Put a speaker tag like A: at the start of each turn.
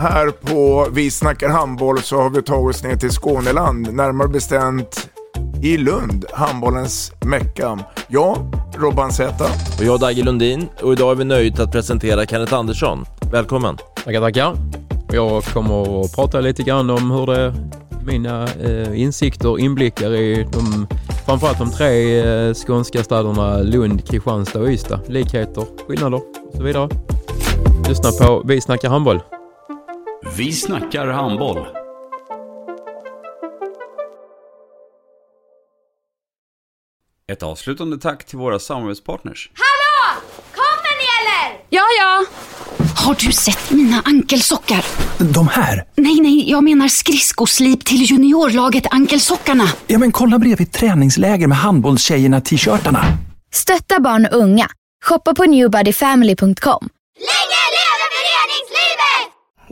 A: här på Vi snackar handboll så har vi tagit oss ner till Skåneland, närmare bestämt i Lund, handbollens Mecka. Jag, Robban Zäta.
B: Och jag Dagge Lundin och idag är vi nöjda att presentera Kenneth Andersson. Välkommen!
C: Tackar, tackar. Jag kommer att prata lite grann om hur det, mina eh, insikter och inblickar i de, framförallt de tre eh, skånska städerna Lund, Kristianstad och Ystad. Likheter, skillnader och så vidare. Lyssna på Vi snackar handboll.
D: Vi snackar handboll. Ett avslutande tack till våra samarbetspartners.
E: Hallå! Kommer ni eller?
F: Ja, ja. Har du sett mina ankelsockar?
G: De här?
F: Nej, nej, jag menar skridskoslip till juniorlaget Ankelsockarna.
G: Ja, men kolla bredvid träningsläger med handbollstjejerna-t-shirtarna.
H: Stötta barn och unga. Shoppa på newbodyfamily.com.
E: Länge leve föreningslivet!